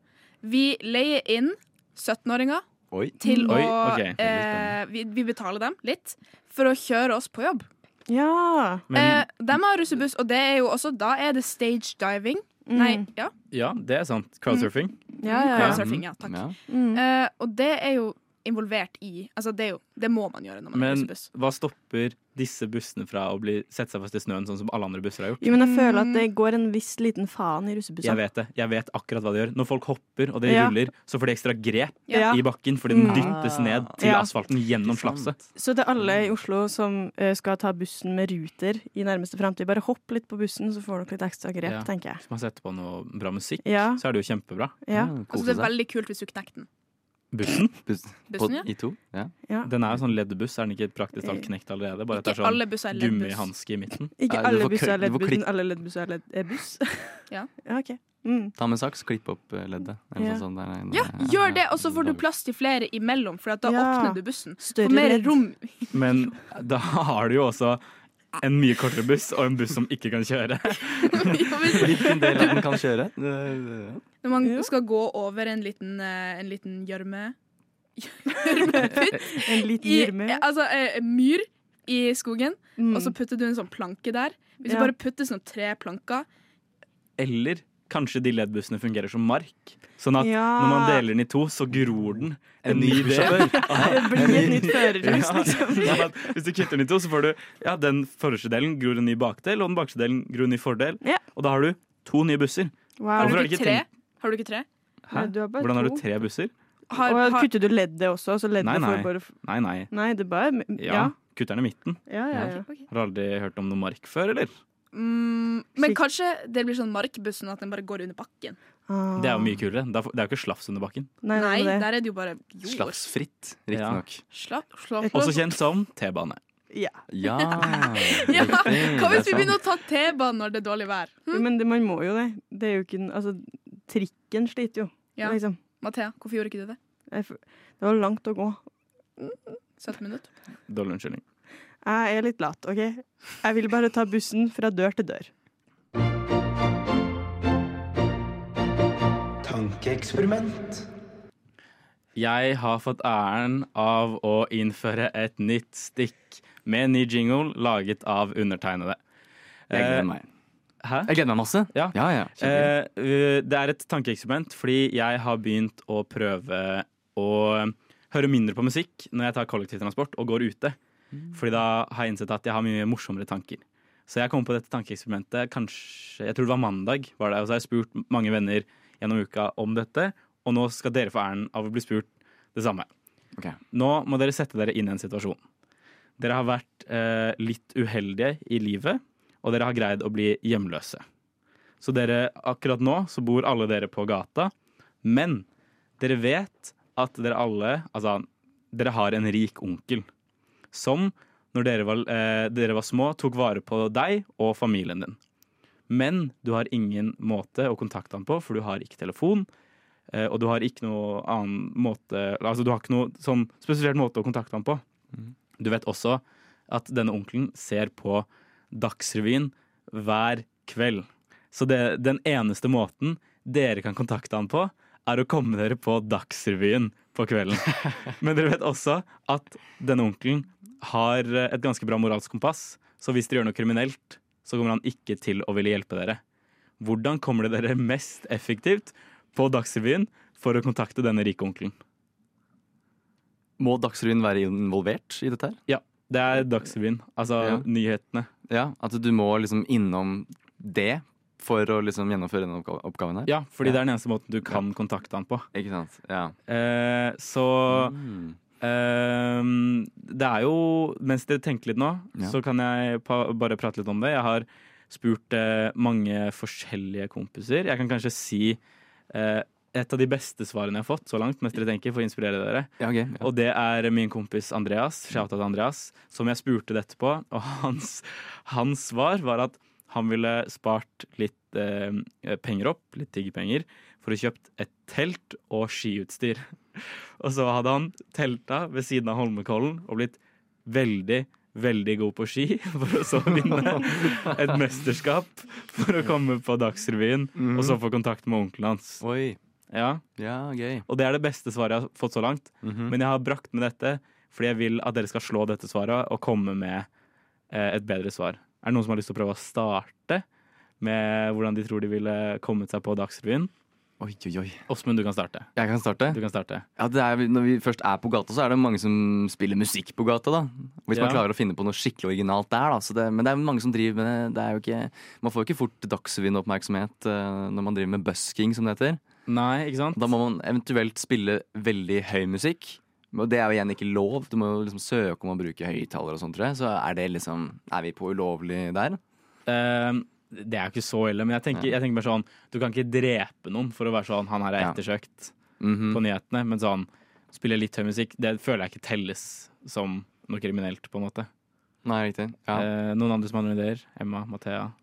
Speaker 9: Vi leier inn 17-åringer
Speaker 3: Oi.
Speaker 9: til
Speaker 8: Oi,
Speaker 9: å
Speaker 8: ok,
Speaker 9: eh,
Speaker 8: veldig spennende.
Speaker 9: vi, vi betaler dem litt for å kjøre oss på jobb.
Speaker 6: Ja.
Speaker 8: Men
Speaker 9: eh, de har russebuss, og det er jo også Da er det stage diving. Nei, ja.
Speaker 8: ja, det er sant. Crowdsurfing.
Speaker 6: Mm. Ja, Mm. ja, ja.
Speaker 9: Crowdsurfing, ja. Takk.
Speaker 3: Ja.
Speaker 9: Eh, og det er jo involvert i Altså, det, er jo, det må man gjøre når man er
Speaker 8: Men
Speaker 9: russebuss.
Speaker 8: hva stopper disse bussene fra å bli, sette seg fast i snøen, sånn som alle andre busser har gjort?
Speaker 6: Jo, men jeg føler at det går en viss liten faen i
Speaker 8: Jeg
Speaker 6: russebussene.
Speaker 8: vet det. Jeg vet akkurat hva det gjør. Når folk hopper og de
Speaker 6: Ja.
Speaker 8: ruller, så får de ekstra grep
Speaker 6: Ja.
Speaker 8: i bakken fordi den
Speaker 6: Mm.
Speaker 8: dyttes ned til
Speaker 6: Ja.
Speaker 8: asfalten gjennom slafset.
Speaker 6: Så til alle
Speaker 8: Mm.
Speaker 6: i Oslo som eh, skal ta bussen med Ruter i nærmeste framtid, bare hopp litt på bussen, så får dere litt ekstra grep,
Speaker 8: Ja.
Speaker 6: tenker jeg.
Speaker 8: Hvis man setter på noe bra musikk,
Speaker 6: Ja.
Speaker 8: så er det jo kjempebra.
Speaker 6: Ja.
Speaker 9: Altså, det er veldig kult hvis du knekker den.
Speaker 8: Bussen
Speaker 9: Bussen, ja.
Speaker 3: I to? Ja.
Speaker 6: Ja.
Speaker 8: den er jo sånn LED-buss, er den ikke praktisk
Speaker 6: Eh.
Speaker 8: talt knekt allerede? Bare at det
Speaker 9: Ikke
Speaker 8: er
Speaker 9: alle
Speaker 8: sånn
Speaker 9: busser er leddbuss.
Speaker 8: gummihanske i midten.
Speaker 6: Ikke
Speaker 3: Nei, du
Speaker 6: alle
Speaker 3: får
Speaker 6: busser
Speaker 3: kø-
Speaker 6: er
Speaker 3: du får
Speaker 6: leddbuss, men
Speaker 3: klikke.
Speaker 6: alle leddbusser er ledd- er buss.
Speaker 9: Ja.
Speaker 6: ja, OK. Mm.
Speaker 3: Ta med saks, klipp opp eh, leddet. Eller
Speaker 6: Ja.
Speaker 3: noe sånt der,
Speaker 9: Ja, gjør det, og så får du plass til flere imellom, for at da
Speaker 6: Ja.
Speaker 9: åpner du bussen.
Speaker 6: Større
Speaker 9: Får mer
Speaker 6: ledd.
Speaker 9: rom.
Speaker 8: Men da har du jo også en mye kortere buss og en buss som ikke kan kjøre.
Speaker 9: Ja, hvis-
Speaker 3: Hvilken del av den kan kjøre? Eh,
Speaker 9: Når man
Speaker 6: Ja.
Speaker 9: skal gå over en liten, eh, en liten gjørme
Speaker 6: En liten
Speaker 9: I-
Speaker 6: gjørme.
Speaker 9: eh, Altså eh, myr i skogen,
Speaker 6: Mm.
Speaker 9: og så putter du en sånn planke der. Hvis
Speaker 6: Ja.
Speaker 9: du bare putter sånn tre planker
Speaker 8: Eller kanskje de LED-bussene fungerer som mark. Sånn at
Speaker 6: Ja.
Speaker 8: når man deler den i to, så gror den en ny
Speaker 3: buss.
Speaker 8: del.
Speaker 6: Det blir et nytt førerhus,
Speaker 8: Ja.
Speaker 6: liksom.
Speaker 8: Sånn at Hvis du kutter den i to, så får du ja, den forreste delen gror en ny bakdel, og den bakste delen gror en ny fordel.
Speaker 6: Ja.
Speaker 8: Og da har du to nye busser.
Speaker 9: Har
Speaker 6: Wow.
Speaker 8: Hvorfor
Speaker 9: du
Speaker 8: har de
Speaker 9: ikke
Speaker 8: ikke
Speaker 9: tre? Har du ikke tre?
Speaker 8: Hæ?
Speaker 6: Nei, du har bare
Speaker 8: Hvordan har du
Speaker 6: to.
Speaker 8: tre busser?
Speaker 9: Har,
Speaker 6: Og
Speaker 9: har,
Speaker 6: kutter du leddet også? Så leddet
Speaker 8: Nei, nei.
Speaker 6: får bare f-
Speaker 8: Nei, nei.
Speaker 6: Nei, det bare Ja.
Speaker 8: Ja, kutter den i midten.
Speaker 6: ja, ja, ja.
Speaker 8: Har du aldri hørt om noe mark før, eller?
Speaker 9: mm, men kanskje det blir sånn markbussen at den bare går under bakken.
Speaker 6: Ah.
Speaker 8: Det er jo mye kulere. Da får- Det er jo ikke slafs under bakken.
Speaker 6: Nei,
Speaker 9: Nei,
Speaker 6: det.
Speaker 9: der er det jo bare jord.
Speaker 3: Slafsfritt,
Speaker 8: Ja.
Speaker 3: riktignok.
Speaker 9: Slapp, slapp,
Speaker 8: Også kjent som T-bane.
Speaker 6: Ja.
Speaker 3: Ja.
Speaker 9: Ja,
Speaker 3: riktig, det
Speaker 9: Hva
Speaker 3: er
Speaker 9: hvis vi
Speaker 3: sant.
Speaker 9: begynner å ta T-banen når det er dårlig vær?
Speaker 6: Jo, Men det, man må jo det. Det er jo ikke en- Altså, trikken sliter jo.
Speaker 9: Ja.
Speaker 6: Liksom.
Speaker 9: Mathea, hvorfor gjorde ikke du det?
Speaker 6: Jeg, f- det var langt å gå.
Speaker 9: 17 minutter.
Speaker 8: Dårlig unnskyldning.
Speaker 6: Jeg er litt lat, OK? Jeg vil bare ta bussen fra dør til dør.
Speaker 8: Jeg har fått æren av å innføre et nytt stikk med en ny jingle laget av undertegnede.
Speaker 3: Jeg gleder meg.
Speaker 8: Hæ?
Speaker 3: Jeg gleder meg masse.
Speaker 8: Ja.
Speaker 3: ja, ja. kjempegøy.
Speaker 8: Eh, eh, det er et tankeeksperiment, fordi jeg har begynt å prøve å høre mindre på musikk når jeg tar kollektivtransport og går ute. Fordi da har jeg innsett at jeg har mye morsommere tanker. Så jeg kom på dette tankeeksperimentet kanskje Jeg tror det var mandag. Var det, og så har jeg spurt mange venner gjennom uka om dette, og nå skal dere få æren av å bli spurt det samme.
Speaker 3: Ok.
Speaker 8: Nå må dere sette dere inn i en situasjon. Dere har vært eh, litt uheldige i livet, og dere har greid å bli hjemløse. Så dere, akkurat nå så bor alle dere på gata, men dere vet at dere alle Altså, dere har en rik onkel som, når dere var, eh, dere var små, tok vare på deg og familien din. Men du har ingen måte å kontakte han på, for du har ikke telefon. eh, Og du har ikke noe annen måte Altså du har ikke noe sånn spesielt måte å kontakte han på.
Speaker 3: Mhm.
Speaker 8: Du vet også at denne onkelen ser på Dagsrevyen hver kveld. Så det, den eneste måten dere kan kontakte han på, er å komme dere på Dagsrevyen på kvelden. Men dere vet også at denne onkelen har et ganske bra moralsk kompass, så hvis dere gjør noe kriminelt, så kommer han ikke til å ville hjelpe dere. Hvordan kommer det dere mest effektivt på Dagsrevyen for å kontakte denne rike onkelen?
Speaker 3: Må Dagsrevyen være involvert i dette her?
Speaker 8: Det er Dagsrevyen, altså
Speaker 3: Ja.
Speaker 8: nyhetene.
Speaker 3: Ja, At du må liksom innom det for å liksom gjennomføre denne oppga- oppgaven her?
Speaker 8: Ja, fordi det er den eneste måten du kan kontakte han på.
Speaker 3: Ikke sant? Ja.
Speaker 8: Eh, så
Speaker 3: Mm.
Speaker 8: Ehm, det er jo Mens dere tenker litt nå,
Speaker 3: Ja.
Speaker 8: så kan jeg pa bare prate litt om det. Jeg har spurt eh, mange forskjellige kompiser. Jeg kan kanskje si eh, et av de beste svarene jeg har fått så langt, mens dere tenker, for å inspirere dere.
Speaker 3: Ja, ok. Ja.
Speaker 8: Og det er min kompis Andreas, shoutout Andreas, som jeg spurte dette på. Og hans, hans svar var at han ville spart litt eh, penger opp, litt tiggerpenger, for å kjøpt et telt og skiutstyr. Og så hadde han telta ved siden av Holmenkollen og blitt veldig, veldig god på ski, for å så vinne et mesterskap for å komme på Dagsrevyen, og så få kontakt med onkelen hans.
Speaker 3: Oi.
Speaker 8: Ja.
Speaker 3: Ja, gøy.
Speaker 8: Og det er det beste svaret jeg har fått så langt. Men jeg har brakt med dette fordi jeg vil at dere skal slå dette svaret og komme med eh, et bedre svar. Er det noen som har lyst til å prøve å starte med hvordan de tror de ville kommet seg på Dagsrevyen?
Speaker 3: Oi, oi, oi.
Speaker 8: Åsmund, du kan starte.
Speaker 3: Jeg kan starte.
Speaker 8: Du kan starte.
Speaker 3: Ja, det er, når vi først er på gata, så er det mange som spiller musikk på gata. da Hvis man
Speaker 8: Ja.
Speaker 3: klarer å finne på noe skikkelig originalt der. da så det, Men det er jo mange som driver med det. det er jo ikke, man får jo ikke fort Dagsrevyen-oppmerksomhet eh, når man driver med busking, som det heter.
Speaker 8: Nei, ikke sant?
Speaker 3: Da må man eventuelt spille veldig høy musikk. Og det er jo igjen ikke lov. Du må jo liksom søke om å bruke høyttaler og sånt, tror jeg. Så er det liksom Er vi på ulovlig der?
Speaker 8: Eh, det er jo ikke så ille, men jeg tenker, jeg tenker mer sånn Du kan ikke drepe noen for å være sånn Han her er
Speaker 3: Ja.
Speaker 8: ettersøkt
Speaker 3: Mhm.
Speaker 8: på nyhetene, men sånn Spille litt høy musikk, det føler jeg ikke telles som noe kriminelt, på en måte.
Speaker 3: Nei, riktig. Ja.
Speaker 8: Eh, noen andre som har noen ideer? Emma? Mathea?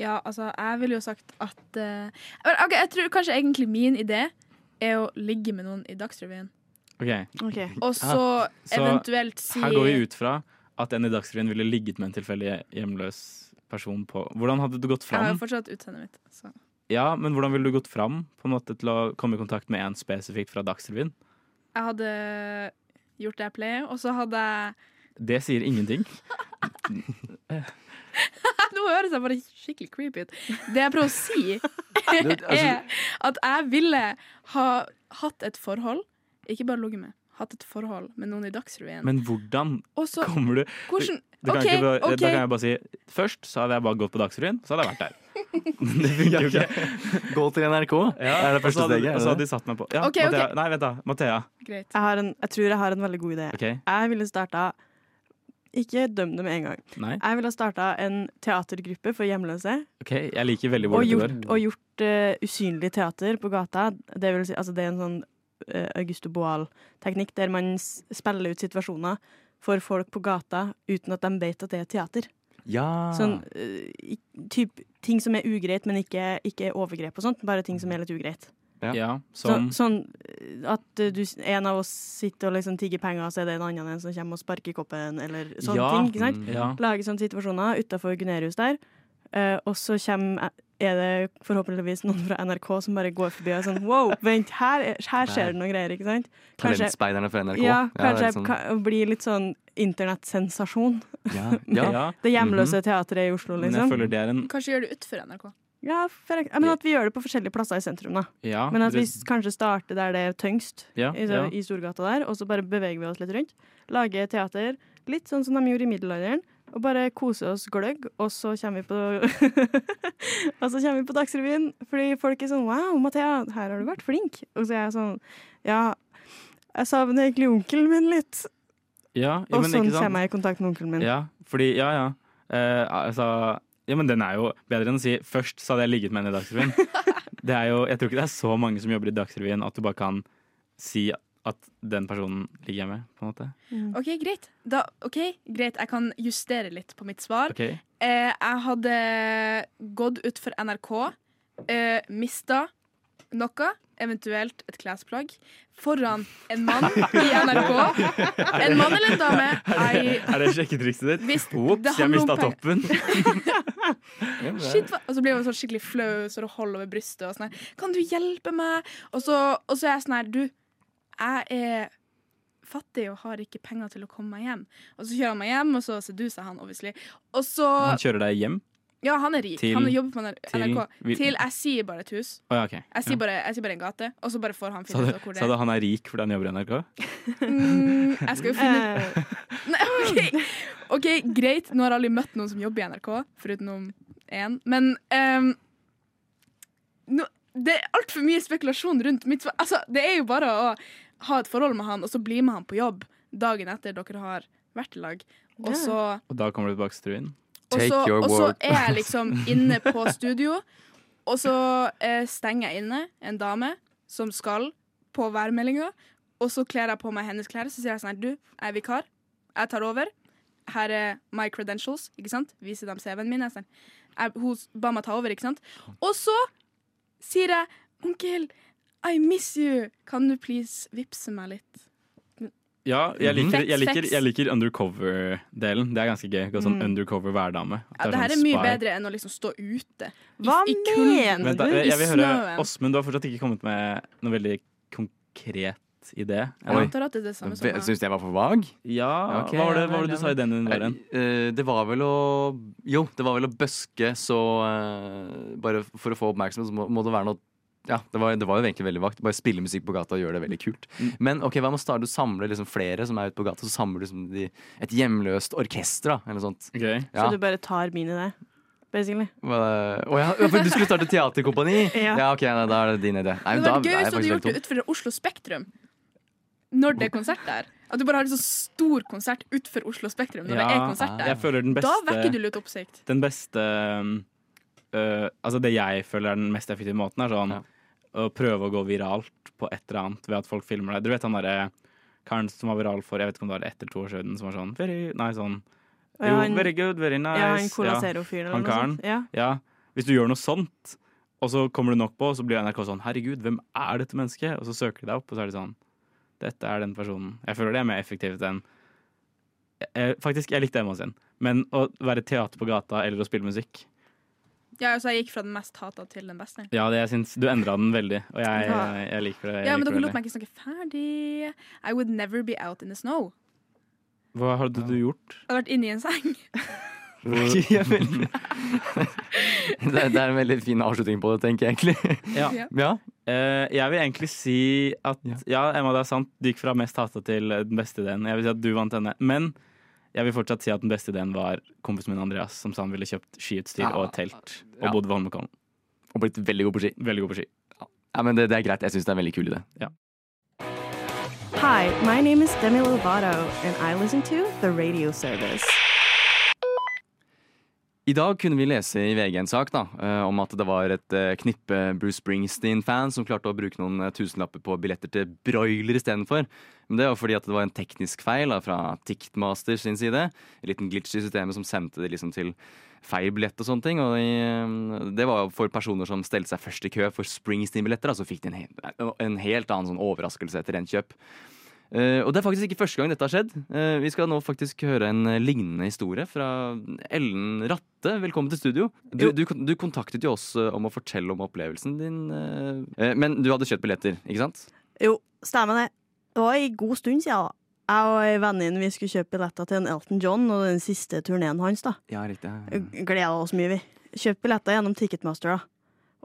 Speaker 9: Ja, altså, jeg ville jo sagt at eh, men, ok, Jeg tror kanskje egentlig min idé er å ligge med noen i Dagsrevyen.
Speaker 8: OK.
Speaker 6: Ok.
Speaker 9: Og så
Speaker 8: Så
Speaker 9: eventuelt si
Speaker 8: Her går vi ut fra at en i Dagsrevyen ville ligget med en tilfeldig hjemløs person på Hvordan hadde du gått
Speaker 9: Jeg har
Speaker 8: fram?
Speaker 9: jo fortsatt utseendet mitt. Så.
Speaker 8: Ja, men hvordan ville du gått fram på en måte til å komme i kontakt med en spesifikt fra Dagsrevyen?
Speaker 9: Jeg hadde gjort det jeg pleier, og så hadde jeg
Speaker 8: Det sier ingenting.
Speaker 9: Nå høres jeg bare skikkelig creepy ut. Det jeg prøver å si,
Speaker 3: Det- altså-
Speaker 9: er at jeg ville ha hatt et forhold, ikke bare ligget med, hatt et forhold med noen i Dagsrevyen.
Speaker 8: Men hvordan
Speaker 9: Og så
Speaker 8: kommer du
Speaker 9: hvordan
Speaker 8: Du kan
Speaker 9: OK,
Speaker 8: ikke bare,
Speaker 9: OK.
Speaker 8: Da kan jeg bare si Først så hadde jeg bare gått på Dagsrevyen, så hadde jeg vært der. Det funker jo ikke.
Speaker 3: Gå til NRK. er det
Speaker 8: Og så
Speaker 3: første
Speaker 8: hadde-
Speaker 3: steget. er det
Speaker 8: Og så hadde
Speaker 3: det?
Speaker 8: de satt meg på. Ja,
Speaker 9: Ok, ok.
Speaker 8: Mathea. Nei, vent da. Mathea.
Speaker 9: Greit.
Speaker 6: Jeg, har en, jeg tror jeg har en veldig god idé.
Speaker 8: Ok.
Speaker 6: Jeg ville starta Ikke døm det med en gang.
Speaker 8: Nei.
Speaker 6: Jeg ville starta en teatergruppe for hjemløse.
Speaker 8: Ok, Jeg liker veldig hvor
Speaker 6: Og
Speaker 8: dette går.
Speaker 6: gjort, og gjort eh, usynlig teater på gata. Det, vil si, altså det er en sånn eh, Augusto Boal-teknikk der man s- spiller ut situasjoner for folk på gata uten at de vet at det er teater.
Speaker 3: Ja.
Speaker 8: Ah.
Speaker 6: Sånn eh, i- typ, ting som er ugreit, men ikke, ikke er overgrep og sånt. Bare ting som er litt ugreit.
Speaker 3: Ja.
Speaker 8: Ja,
Speaker 6: Så,
Speaker 8: som
Speaker 6: sånn eh, at eh, du, en av oss sitter og liksom tigger penger, og så er det en annen en som kommer og sparker i koppen, eller sånne
Speaker 8: Ja.
Speaker 6: ting. ikke sant?
Speaker 3: Mm.
Speaker 8: Ja.
Speaker 6: Lage sånne situasjoner utafor Gunerius der. Eh, og så kommer, er det forhåpentligvis noen fra NRK som bare går forbi og er sånn Wow, vent, her, er- her skjer det noen greier, ikke sant? Kanskje,
Speaker 3: Talentspeiderne fra NRK.
Speaker 6: ja,
Speaker 3: det er sånn-
Speaker 6: kanskje
Speaker 3: litt
Speaker 6: jeg kan- blir litt sånn internettsensasjon.
Speaker 3: sånn- ja. ja.
Speaker 8: ja.
Speaker 6: Det hjemløse teatret i Oslo,
Speaker 8: Men jeg
Speaker 6: liksom.
Speaker 8: føler det er en
Speaker 9: Kanskje gjør det utenfor NRK.
Speaker 6: Ja, for, ek- men At vi gjør det på forskjellige plasser i sentrum, da.
Speaker 8: Ja.
Speaker 6: Men at vi
Speaker 8: det-
Speaker 6: s- kanskje starter der det er tyngst,
Speaker 8: ja,
Speaker 6: i,
Speaker 8: ja.
Speaker 6: i Storgata der, og så bare beveger vi oss litt rundt. Lager teater, litt sånn som de gjorde i middelalderen, og bare koser oss gløgg, og så kommer vi på Og så kommer vi på Dagsrevyen, fordi folk er sånn Wow, Mathea, her har du vært flink. Og så er jeg sånn Ja, jeg savner egentlig onkelen min litt.
Speaker 8: Ja, ja,
Speaker 6: Og
Speaker 8: men
Speaker 6: sånn
Speaker 8: ikke sant?
Speaker 6: kommer jeg i kontakt med onkelen min.
Speaker 8: Ja, fordi, ja, ja. Eh, altså, ja, men den er jo bedre enn å si først så hadde jeg ligget med henne i Dagsrevyen. Det er jo, jeg tror ikke det er så mange som jobber i Dagsrevyen at du bare kan si at den personen ligger jeg med, på en måte.
Speaker 9: OK, greit. Da, ok, greit. Jeg kan justere litt på mitt svar.
Speaker 8: Ok,
Speaker 9: Eh, jeg hadde gått utfor NRK, eh, mista noe, eventuelt et klesplagg, foran en mann i NRK. En mann eller en dame? I,
Speaker 8: Er det sjekketrikset ditt?
Speaker 9: hvis det
Speaker 8: Ops, jeg
Speaker 9: handler om
Speaker 8: mista
Speaker 9: penger.
Speaker 8: toppen.
Speaker 9: Shit, hva? Og så blir jeg sånn skikkelig flau, så det holder over brystet. Og sånn her, kan du hjelpe meg? Og så, og så er jeg sånn her, du, jeg er fattig og har ikke penger til å komme meg hjem. Og så kjører han meg hjem, og så seduser jeg han, obviously. Og så
Speaker 8: Han kjører deg hjem
Speaker 9: Ja, han er rik.
Speaker 8: Til-
Speaker 9: han jobber på NRK.
Speaker 8: til vil-
Speaker 9: Til jeg sier bare et hus.
Speaker 8: Å ja, OK.
Speaker 9: Jeg sier, bare, jeg sier bare en gate, og så bare får han
Speaker 8: Sa
Speaker 9: finne
Speaker 8: du,
Speaker 9: ut av hvor det
Speaker 8: sa du
Speaker 9: er.
Speaker 8: han er rik fordi han jobber i NRK?
Speaker 9: Mm, jeg skal jo finne
Speaker 6: Eh,
Speaker 9: Nei, ok. OK, greit. Nå har jeg aldri møtt noen som jobber i NRK, foruten om én. Men ehm, nå- det er altfor mye spekulasjon rundt mitt svar. Altså, det er jo bare å ha et forhold med han, og så bli med han på jobb dagen etter dere har vært i lag. Og så,
Speaker 8: Og da kommer du tilbake til Struen?
Speaker 9: og så,
Speaker 3: Take your
Speaker 9: og så
Speaker 3: word.
Speaker 9: er jeg liksom inne på studio, og så eh, stenger jeg inne en dame som skal på værmeldinga, og så kler jeg på meg hennes klær, så sier jeg sånn her, du, jeg er vikar, jeg tar over, her er my credentials, ikke sant? Viser dem CV-en min, jeg, sier, jeg, hun s- ba meg ta over, ikke sant? Og så sier jeg, onkel, I miss you, kan du please vipse meg litt?
Speaker 8: Ja, jeg liker,
Speaker 9: Fett
Speaker 8: jeg liker,
Speaker 9: sex.
Speaker 8: jeg liker undercover-delen. Det er ganske gøy. Gå sånn undercover værdame.
Speaker 9: Mm. Ja,
Speaker 8: At det
Speaker 9: det her
Speaker 8: sånn
Speaker 9: er mye
Speaker 8: spy.
Speaker 9: bedre enn å liksom stå ute.
Speaker 6: Hva
Speaker 9: I- i kulden.
Speaker 6: mener
Speaker 8: Vent, da,
Speaker 6: du?
Speaker 8: jeg, jeg vil høre
Speaker 9: snøen.
Speaker 8: Åsmund, du har fortsatt ikke kommet med noe veldig konkret idé.
Speaker 9: Jeg
Speaker 8: eller?
Speaker 9: antar at det er det samme som meg.
Speaker 3: Syns jeg var for vag?
Speaker 8: Ja,
Speaker 3: Ok,
Speaker 8: hva var det,
Speaker 3: ja,
Speaker 8: hva var
Speaker 3: vel, ja,
Speaker 8: det du sa i
Speaker 3: vel.
Speaker 8: den
Speaker 3: Nei,
Speaker 8: våren?
Speaker 3: eh, det var vel å Jo, det var vel å bøske, så eh, Bare for å få oppmerksomhet, så må, må det være noe Ja, det var, det var jo egentlig veldig vagt. Bare spille musikk på gata og gjøre det veldig kult. Men ok, hva med å starte å samle liksom flere som er ute på gata? Så samler du liksom de, et hjemløst orkester, da, eller noe sånt.
Speaker 8: Ok.
Speaker 3: Ja.
Speaker 6: Så du bare tar min idé, basically.
Speaker 3: Hva- Å ja, ja, for du skulle starte teaterkompani?
Speaker 6: Ja.
Speaker 3: ja, ok, nei, da er det din idé. Nei, men
Speaker 9: Det hadde
Speaker 3: da
Speaker 9: vært
Speaker 3: er jeg
Speaker 9: gøy hvis du hadde
Speaker 3: faktisk
Speaker 9: gjort
Speaker 3: veldig tom.
Speaker 9: det utenfor Oslo Spektrum. Når det er konsert der. At du bare har en sånn stor konsert utenfor Oslo Spektrum når det er konsert der.
Speaker 8: jeg føler den
Speaker 9: Da vekker du
Speaker 8: beste,
Speaker 9: litt oppsikt.
Speaker 8: den beste um, øh, Altså det jeg føler er den mest effektive måten, er sånn
Speaker 3: Ja.
Speaker 8: å prøve å gå viralt på et eller annet ved at folk filmer deg. Du vet han derre karen som var viral for jeg vet ikke om det var ett eller to år siden, som var sånn very, Nei, sånn
Speaker 6: Og
Speaker 8: Jo,
Speaker 6: jeg har en-
Speaker 8: very good, very nice.
Speaker 6: Jeg har en
Speaker 8: Ja.
Speaker 6: Colasero-fyr eller
Speaker 8: Han
Speaker 6: noe sånt. Ja.
Speaker 8: Ja, hvis du gjør noe sånt, og så kommer du nok på, og så blir NRK sånn Herregud, hvem er dette mennesket? Og så søker de deg opp, og så er de sånn Dette er den personen. Jeg føler det er mer effektivt enn Eh, Faktisk, jeg likte Emma sin, men å være teater på gata eller å spille musikk
Speaker 9: Ja, altså jeg gikk fra den mest hata til den beste.
Speaker 8: Ja, det jeg syns Du endra den veldig, og jeg, jeg, liker det. Jeg
Speaker 9: Ja, men
Speaker 8: liker
Speaker 9: dere
Speaker 8: det
Speaker 9: lot meg ikke snakke ferdig. I would never be out in the snow.
Speaker 8: veldig. Hva hadde du gjort?
Speaker 9: Jeg hadde vært inne i en seng.
Speaker 3: Jeg er veldig- det, det er en veldig fin avslutning på det, tenker jeg egentlig.
Speaker 8: Ja.
Speaker 9: Ja.
Speaker 3: Ja,
Speaker 8: Eh, jeg vil egentlig si at
Speaker 3: Ja.
Speaker 8: ja. Emma, det er sant. Du gikk fra mest hata til eh, den beste ideen. Jeg vil si at du vant denne. Men jeg vil fortsatt si at den beste ideen var kompisen min Andreas, som sa han ville kjøpt skiutstyr
Speaker 3: Ja.
Speaker 8: og et telt. Og
Speaker 3: Ja.
Speaker 8: bodde ved Holmenkollen.
Speaker 3: og blitt veldig god på ski.
Speaker 8: Veldig god på ski.
Speaker 3: Ja, men det, det er greit. Jeg syns det er en veldig kul idé.
Speaker 6: Hi, my name is Demi Lovato, and I listen to The Radio Service.
Speaker 3: I dag kunne vi lese i VG en sak da, eh, om at det var et eh, knippe Bruce Springsteen-fans som klarte å bruke noen eh, tusenlapper på billetter til broiler istedenfor. Men det var fordi at det var en teknisk feil da, fra Ticketmaster sin side. En liten glitch i systemet som sendte det liksom til feil billett og sånne ting. Og de, eh, det var jo for personer som stelte seg først i kø for Springsteen-billetter, da, så fikk de en, he- en helt annen sånn overraskelse etter gjenkjøp. Eh, og det er faktisk ikke første gang dette har skjedd. Eh, vi skal nå faktisk høre en eh, lignende historie fra Ellen Ratte. Velkommen til studio. Du, du, kon- du kontaktet jo oss eh, om å fortelle om opplevelsen din. eh, eh, men du hadde kjøpt billetter, ikke sant?
Speaker 6: Jo, stemmer det. Det var en god stund siden. da. Jeg og ei venninne vi skulle kjøpe billetter til en Elton John og den siste turneen hans. da.
Speaker 3: Ja, riktig.
Speaker 6: Eh, Gleda oss mye, vi. Kjøpte billetter gjennom Ticketmaster. da.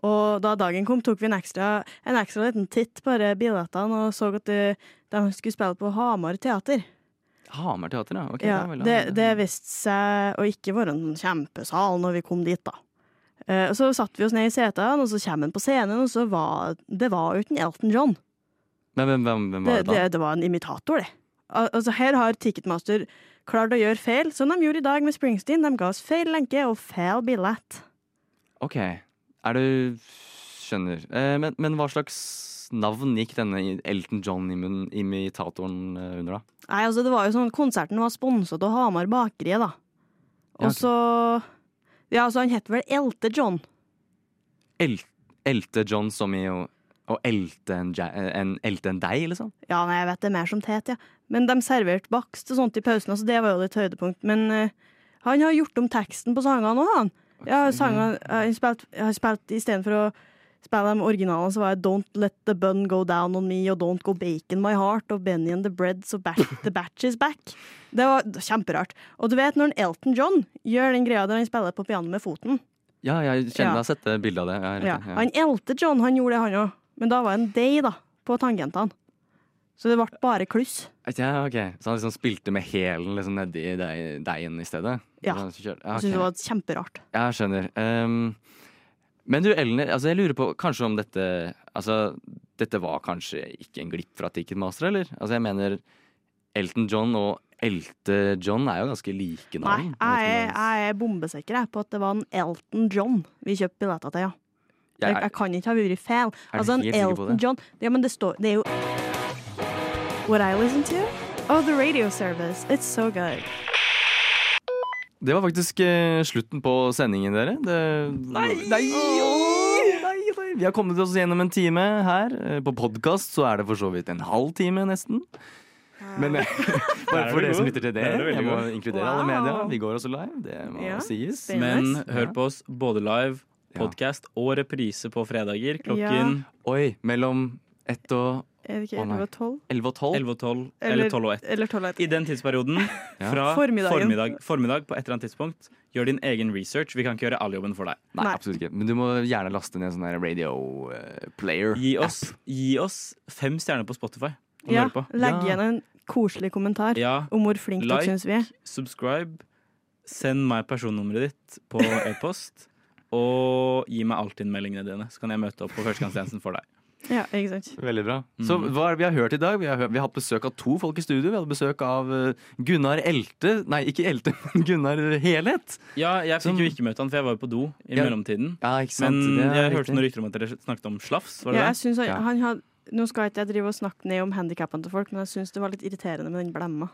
Speaker 6: Og da dagen kom, tok vi en ekstra, en ekstra liten titt på de billettene og så at de, de skulle spille på Hamar teater.
Speaker 3: Hamar teater, ja. Ok,
Speaker 6: Ja,
Speaker 3: vel,
Speaker 6: det, det viste seg å ikke være en sånn kjempesal når vi kom dit, da. Eh, og så satte vi oss ned i setene, og så kommer han på scenen, og så var det var jo ikke en Elton John.
Speaker 3: Men hvem, hvem, hvem var
Speaker 6: Det,
Speaker 3: det,
Speaker 6: det, det var en imitator, det. Al altså, her har Ticketmaster klart å gjøre feil, som de gjorde i dag med Springsteen. De ga oss feil lenke og feil billett.
Speaker 3: da? Ok, er du Skjønner. Eh, men, men hva slags navn gikk denne i- Elton John-imitatoren under, da?
Speaker 6: Nei, altså, det var jo sånn konserten var sponset av Hamar Bakeriet, da.
Speaker 3: Ja, ok.
Speaker 6: Og så Ja, altså, han het vel Elte John.
Speaker 3: El elte John som i å å elte en, ja- en, elte en deg, liksom?
Speaker 6: Ja, nei, jeg vet det er mer som tet, ja. Men de serverte bakst og sånt i pausen, altså det var jo litt høydepunkt. Men eh, han har gjort om teksten på sangene òg, han. Ja, sangene, eh, han spilte, har spilt istedenfor å spille de originalene, så var det Don't Let The Bun Go Down On Me og Don't Go Bacon My Heart og Benny and The Breads og back, The Batch Is Back. Det var kjemperart. Og du vet når en Elton John gjør den greia der han spiller på pianoet med foten.
Speaker 3: Ja, jeg kjenner
Speaker 6: Ja.
Speaker 3: jeg har sett det bildet av det. Ja,
Speaker 6: Ja.
Speaker 3: riktig, ja.
Speaker 6: Han elte John, han gjorde det, han òg. Men da var det en day, da, på tangentene. Så det ble bare kluss.
Speaker 3: Ja, ok. Så han liksom spilte med hælen liksom nedi deig- deigen i stedet?
Speaker 6: Ja.
Speaker 3: Så kjør- ja,
Speaker 6: Jeg
Speaker 3: ok.
Speaker 6: synes det var kjemperart.
Speaker 3: Jeg skjønner. Ehm, men du, Ellen, altså jeg lurer på kanskje om dette Altså, dette var kanskje ikke en glipp fra Ticketmaster, eller? Altså, jeg mener Elton John og Elte John er jo ganske like
Speaker 6: Nei,
Speaker 3: navn. vet
Speaker 6: jeg er,
Speaker 3: ikke om det-
Speaker 6: jeg er bombesikker jeg, på at det var en Elton John vi kjøpte billetter til, ja.
Speaker 3: Jeg
Speaker 6: Jeg,
Speaker 3: er-
Speaker 6: jeg kan ikke ha vært feil.
Speaker 3: Er du
Speaker 6: Altså, en
Speaker 3: helt sikker på
Speaker 6: Elton
Speaker 3: det?
Speaker 6: John Ja, men det står Det er jo What I listen to? Oh, the radio service. It's so good.
Speaker 3: Det var faktisk eh, slutten på sendingen, dere. Det... Nei! Nei, nei, nei! Vi har kommet oss gjennom en time her. Eh, På podkast så er det for så vidt en halv time, nesten. Men eh,
Speaker 8: Der
Speaker 3: bare
Speaker 8: er
Speaker 3: for
Speaker 8: du
Speaker 3: dere som
Speaker 8: god.
Speaker 3: lytter til det,
Speaker 8: Der er du veldig
Speaker 3: jeg må
Speaker 8: god.
Speaker 3: inkludere alle media. Vi går også live, det må
Speaker 6: Ja,
Speaker 3: sies.
Speaker 6: spennende.
Speaker 8: Men
Speaker 6: Nice.
Speaker 8: hør på oss både live,
Speaker 3: Ja.
Speaker 8: podcast og reprise på fredager klokken
Speaker 3: Oi, mellom Ett og
Speaker 6: Er det ikke
Speaker 3: Å, nei.
Speaker 6: 11 og 12?
Speaker 3: elleve og tolv.
Speaker 8: 11 og 12,
Speaker 6: Eller-
Speaker 8: eller 12 og 1.
Speaker 6: Eller 12 og 1.
Speaker 8: I den tidsperioden,
Speaker 3: Ja.
Speaker 8: fra
Speaker 6: Formiddagen.
Speaker 8: formiddag, formiddag på et eller annet tidspunkt, gjør din egen research. Vi kan ikke gjøre all jobben for deg.
Speaker 3: Nei,
Speaker 6: Nei.
Speaker 3: absolutt ikke. Men du må gjerne laste ned sånn her radio eh, player.
Speaker 8: Gi oss, gi oss fem stjerner på Spotify. Om du
Speaker 6: Ja,
Speaker 8: hører på.
Speaker 6: legg
Speaker 3: Ja.
Speaker 6: igjen en koselig kommentar
Speaker 8: Ja,
Speaker 6: om hvor flink
Speaker 8: Like.
Speaker 6: dere syns vi er.
Speaker 8: subscribe, send meg personnummeret ditt på e-post, og gi meg Altinn-meldingene dine, så kan jeg møte opp på førstegangstjenesten for deg.
Speaker 6: Ja, ikke sant?
Speaker 3: Veldig bra. Så
Speaker 8: Mhm.
Speaker 3: hva er det vi har hørt i dag? Vi har, hø- vi har hatt besøk av to folk i studio. Vi hadde besøk av eh, Gunnar Elte Nei, ikke Elte, men Gunnar Helhet.
Speaker 8: Ja, jeg
Speaker 3: Som-
Speaker 8: fikk jo ikke møte han, for jeg var jo på do i
Speaker 3: Ja.
Speaker 8: mellomtiden.
Speaker 3: Ja, ikke sant?
Speaker 8: Men
Speaker 3: Det er
Speaker 8: jeg
Speaker 3: riktig.
Speaker 8: hørte noen rykter om at dere snakket om slafs, var
Speaker 6: Ja,
Speaker 8: det
Speaker 6: jeg
Speaker 8: det?
Speaker 6: synes han,
Speaker 3: Ja.
Speaker 6: han had, nå skal ikke jeg drive og snakke ned om handikappene til folk, men jeg syns det var litt irriterende med den blemma.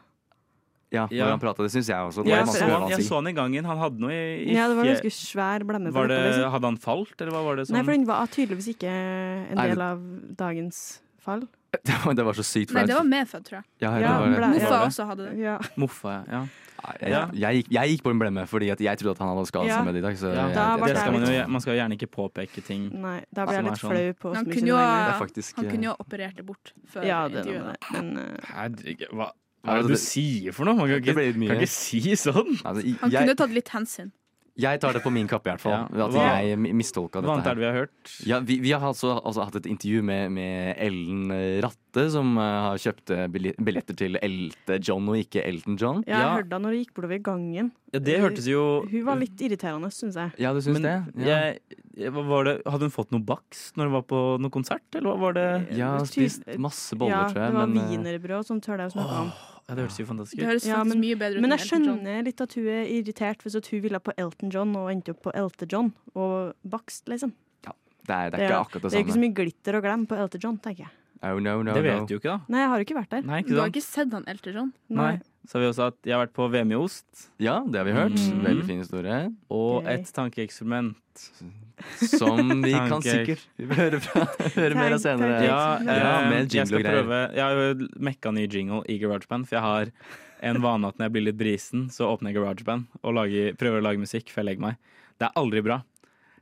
Speaker 3: Ja, når
Speaker 8: Ja.
Speaker 3: han pratet, det syns jeg også. Det
Speaker 8: Ja,
Speaker 3: var
Speaker 8: jeg,
Speaker 3: masse
Speaker 8: så
Speaker 3: å
Speaker 8: han,
Speaker 3: høre
Speaker 8: jeg
Speaker 3: han si.
Speaker 8: så han i gangen. Han hadde noe i, i
Speaker 6: Ja, det var en
Speaker 8: fje-
Speaker 6: ganske svær blemme. på
Speaker 8: var det,
Speaker 6: leppa, liksom.
Speaker 8: Hadde han falt, eller hva var det sånn?
Speaker 6: Nei, for den var tydeligvis ikke en
Speaker 3: Nei, det-
Speaker 6: del av dagens fall.
Speaker 3: Det var, det var så sykt
Speaker 9: Nei,
Speaker 3: flaut.
Speaker 9: det var medfødt, tror jeg.
Speaker 3: Ja,
Speaker 6: Ja,
Speaker 3: det var,
Speaker 6: ble-
Speaker 9: Moffa
Speaker 8: det?
Speaker 9: også hadde det.
Speaker 6: Ja.
Speaker 8: Moffa, ja.
Speaker 3: Nei, jeg,
Speaker 8: Ja.
Speaker 3: jeg, gikk, jeg gikk på en blemme fordi at jeg trodde at han hadde skadet
Speaker 6: Ja.
Speaker 3: seg med det i dag. Så jeg,
Speaker 8: Ja,
Speaker 3: jeg,
Speaker 6: da ble
Speaker 8: Det skal man
Speaker 6: litt-
Speaker 8: jo gje- Man skal jo gjerne ikke påpeke ting.
Speaker 6: Nei, da ble jeg
Speaker 8: Som er
Speaker 6: litt
Speaker 8: sånn.
Speaker 6: flau på
Speaker 9: Han
Speaker 6: så mye sine
Speaker 9: kunne jo
Speaker 6: vegne.
Speaker 3: det er faktisk
Speaker 9: Han
Speaker 3: eh,
Speaker 9: kunne jo ha operert det bort før
Speaker 6: Ja, det,
Speaker 9: intervjuet.
Speaker 6: men eh,
Speaker 8: Herregud, hva,
Speaker 3: Ja,
Speaker 8: hva er det
Speaker 3: Altså, det-
Speaker 8: du sier for noe? Man kan
Speaker 3: Det
Speaker 8: ikke,
Speaker 3: ble litt mye.
Speaker 8: kan ikke si sånn!
Speaker 3: Altså,
Speaker 9: Han
Speaker 3: jeg,
Speaker 9: kunne tatt litt hensyn.
Speaker 3: jeg tar det på min kappe, i hvert fall.
Speaker 8: Ja.
Speaker 3: At
Speaker 8: Hva-
Speaker 3: jeg mi- mistolka
Speaker 8: Hva
Speaker 3: dette
Speaker 8: annet
Speaker 3: her.
Speaker 8: er det vi har hørt?
Speaker 3: Ja, vi, vi har altså, altså hatt et intervju med, med Ellen Ratte, som eh, har kjøpt eh, billi- billetter til Elte John og ikke Elton John.
Speaker 6: Ja, jeg
Speaker 8: Ja.
Speaker 6: hørte han når hun gikk bortover gangen.
Speaker 8: Ja, det hørtes jo
Speaker 6: Hun var litt irriterende, syns jeg.
Speaker 3: Ja, du syns
Speaker 8: Men
Speaker 3: det? Ja.
Speaker 8: jeg, jeg- hva var det, Hadde hun fått noe bakst når hun var på noen konsert, eller hva var det?
Speaker 3: Eh, Jeg har
Speaker 6: Ty-
Speaker 3: spist masse
Speaker 6: Eh, ja,
Speaker 3: boller, tror jeg.
Speaker 6: det var
Speaker 3: men, eh,
Speaker 6: wienerbrød og sånt, tør jeg å snakke om.
Speaker 8: Ja, det hørtes jo fantastisk
Speaker 9: Det
Speaker 8: ut.
Speaker 9: høres
Speaker 6: Ja,
Speaker 9: faktisk mye bedre ut
Speaker 6: Men
Speaker 9: enn
Speaker 6: jeg
Speaker 9: Elton John.
Speaker 6: skjønner litt at hun er irritert hvis at hun ville på Elton John og endte opp på Elte John og bakst, liksom.
Speaker 3: det, er, det
Speaker 6: Det
Speaker 3: er
Speaker 6: er-
Speaker 3: ikke akkurat det
Speaker 6: Det er ikke så
Speaker 3: samme.
Speaker 6: mye glitter og glam på Elton John, tenker jeg.
Speaker 3: Oh, no, no,
Speaker 8: Det
Speaker 3: no.
Speaker 8: vet du jo ikke, da.
Speaker 6: Nei, jeg har jo ikke vært der.
Speaker 8: Nei, ikke
Speaker 9: Du har
Speaker 8: sant?
Speaker 9: ikke sett han Elton John?
Speaker 8: Nei. Så har vi også at jeg har vært på VM i ost,
Speaker 3: Ja, det har vi hørt.
Speaker 8: Mm.
Speaker 3: Veldig fin historie.
Speaker 8: og
Speaker 6: Gøy.
Speaker 8: et tankeeksperiment.
Speaker 3: Som vi kan
Speaker 8: Tanke-
Speaker 3: sikkert høre, fra, høre mer av
Speaker 6: Tank-
Speaker 3: senere.
Speaker 6: tanke-
Speaker 8: Ja,
Speaker 6: Tankeeksperiment.
Speaker 3: Ja,
Speaker 8: eh,
Speaker 3: med jingle
Speaker 8: jeg skal
Speaker 3: og greier.
Speaker 8: prøve Jeg har jo mekka ny jingle i GarageBand, for jeg har en vane at når jeg blir litt brisen, så åpner jeg GarageBand og lager, prøver å lage musikk før jeg legger meg. Det er aldri bra.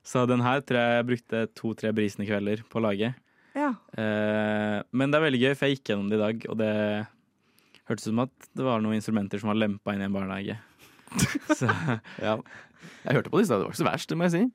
Speaker 8: Så den her tror jeg jeg brukte to-tre brisende kvelder på å lage.
Speaker 6: Ja.
Speaker 8: Eh, men det er veldig gøy, for jeg gikk gjennom det i dag, og det hørtes ut som at det var noen instrumenter som var lempa inn i en barnehage. Så
Speaker 3: Ja. Jeg hørte på det i stad, det var ikke så verst, det må jeg si.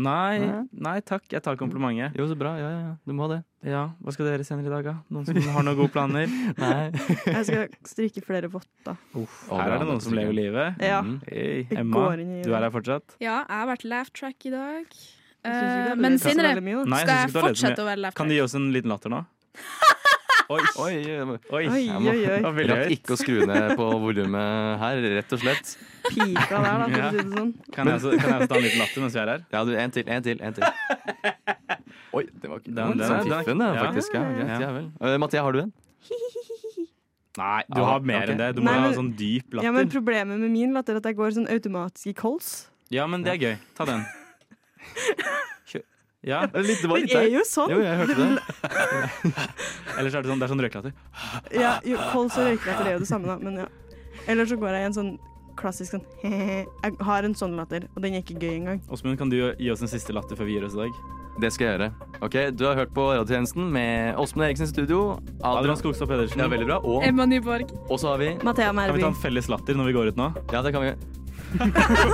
Speaker 8: nei, nei takk, jeg tar komplimentet.
Speaker 3: Jo, så bra. Ja, ja, ja. Du må ha det.
Speaker 8: Ja, hva skal dere senere i dag, da? Noen som har noen gode planer?
Speaker 3: Nei.
Speaker 6: Jeg skal strikke flere votter.
Speaker 8: Her er det noen som lever livet.
Speaker 6: Ja.
Speaker 3: Mm.
Speaker 8: Hey,
Speaker 6: Jeg
Speaker 8: Emma,
Speaker 6: går inn i
Speaker 8: du er her fortsatt?
Speaker 9: Ja, jeg har vært laugh track i dag.
Speaker 6: Jeg synes ikke
Speaker 9: Eh,
Speaker 6: det
Speaker 9: men
Speaker 6: leser så
Speaker 9: senere
Speaker 6: veldig mye, da.
Speaker 8: Nei, jeg
Speaker 9: skal
Speaker 8: synes
Speaker 9: jeg
Speaker 8: ikke du har lest så
Speaker 9: fortsette
Speaker 8: mye.
Speaker 9: å være laugh
Speaker 8: Kan du
Speaker 9: track.
Speaker 8: gi oss en liten latter nå? Oi, oi,
Speaker 3: Oi, jeg
Speaker 8: oi.
Speaker 6: Oi,
Speaker 3: Jeg må-
Speaker 6: oi, oi.
Speaker 8: Det var veldig
Speaker 3: rakk
Speaker 8: høyt.
Speaker 3: ikke å skru ned på volumet her, rett og slett.
Speaker 6: Pika der, da, for å si det sånn.
Speaker 8: Kan jeg, også, kan jeg også ta en liten latter mens vi er her?
Speaker 3: Ja, du, en til, en til, en til. Oi, det var ikke den,
Speaker 8: Den- den
Speaker 3: sånn
Speaker 8: er- den er-
Speaker 3: fiffen, da,
Speaker 8: ja.
Speaker 3: faktisk. Ja, greit,
Speaker 8: Ja.
Speaker 3: ja vel. Eh, Mattia, har du en?
Speaker 8: Nei, du
Speaker 3: Ja,
Speaker 8: har mer
Speaker 3: ok.
Speaker 8: enn det. Du må
Speaker 6: Nei,
Speaker 8: ha
Speaker 6: men-
Speaker 8: sånn dyp
Speaker 6: Ja, men
Speaker 8: latter.
Speaker 6: problemet med min latter er at jeg går sånn automatisk i kols.
Speaker 8: Ja, men det er gøy. Ta den. Kjør. Ja,
Speaker 3: Litt, det
Speaker 6: Det er jo sånn!
Speaker 3: Jo, jeg hørte det.
Speaker 8: ellers er det sånn, det er sånn røyklatter.
Speaker 6: Ja, jo, kols og røykelatter det er jo det samme, da. Men ja. Eller så går jeg i en sånn klassisk sånn he-he. Jeg har en sånn latter, og den er ikke gøy engang.
Speaker 8: Åsmund, kan du gi oss en siste latter før vi gir oss i dag?
Speaker 3: Det skal jeg gjøre. Ok, Du har hørt på Radiotjenesten med Åsmund Eriksen i studio.
Speaker 8: Adrian
Speaker 3: Adrian Skog.
Speaker 8: Skogstad Pedersen.
Speaker 3: Ja, veldig bra. Og,
Speaker 9: Emma Nyborg.
Speaker 3: og så har vi
Speaker 6: Mathea
Speaker 8: Kan vi
Speaker 6: Merby.
Speaker 8: ta en felles latter når vi går ut nå?
Speaker 3: Ja, det kan vi gjøre.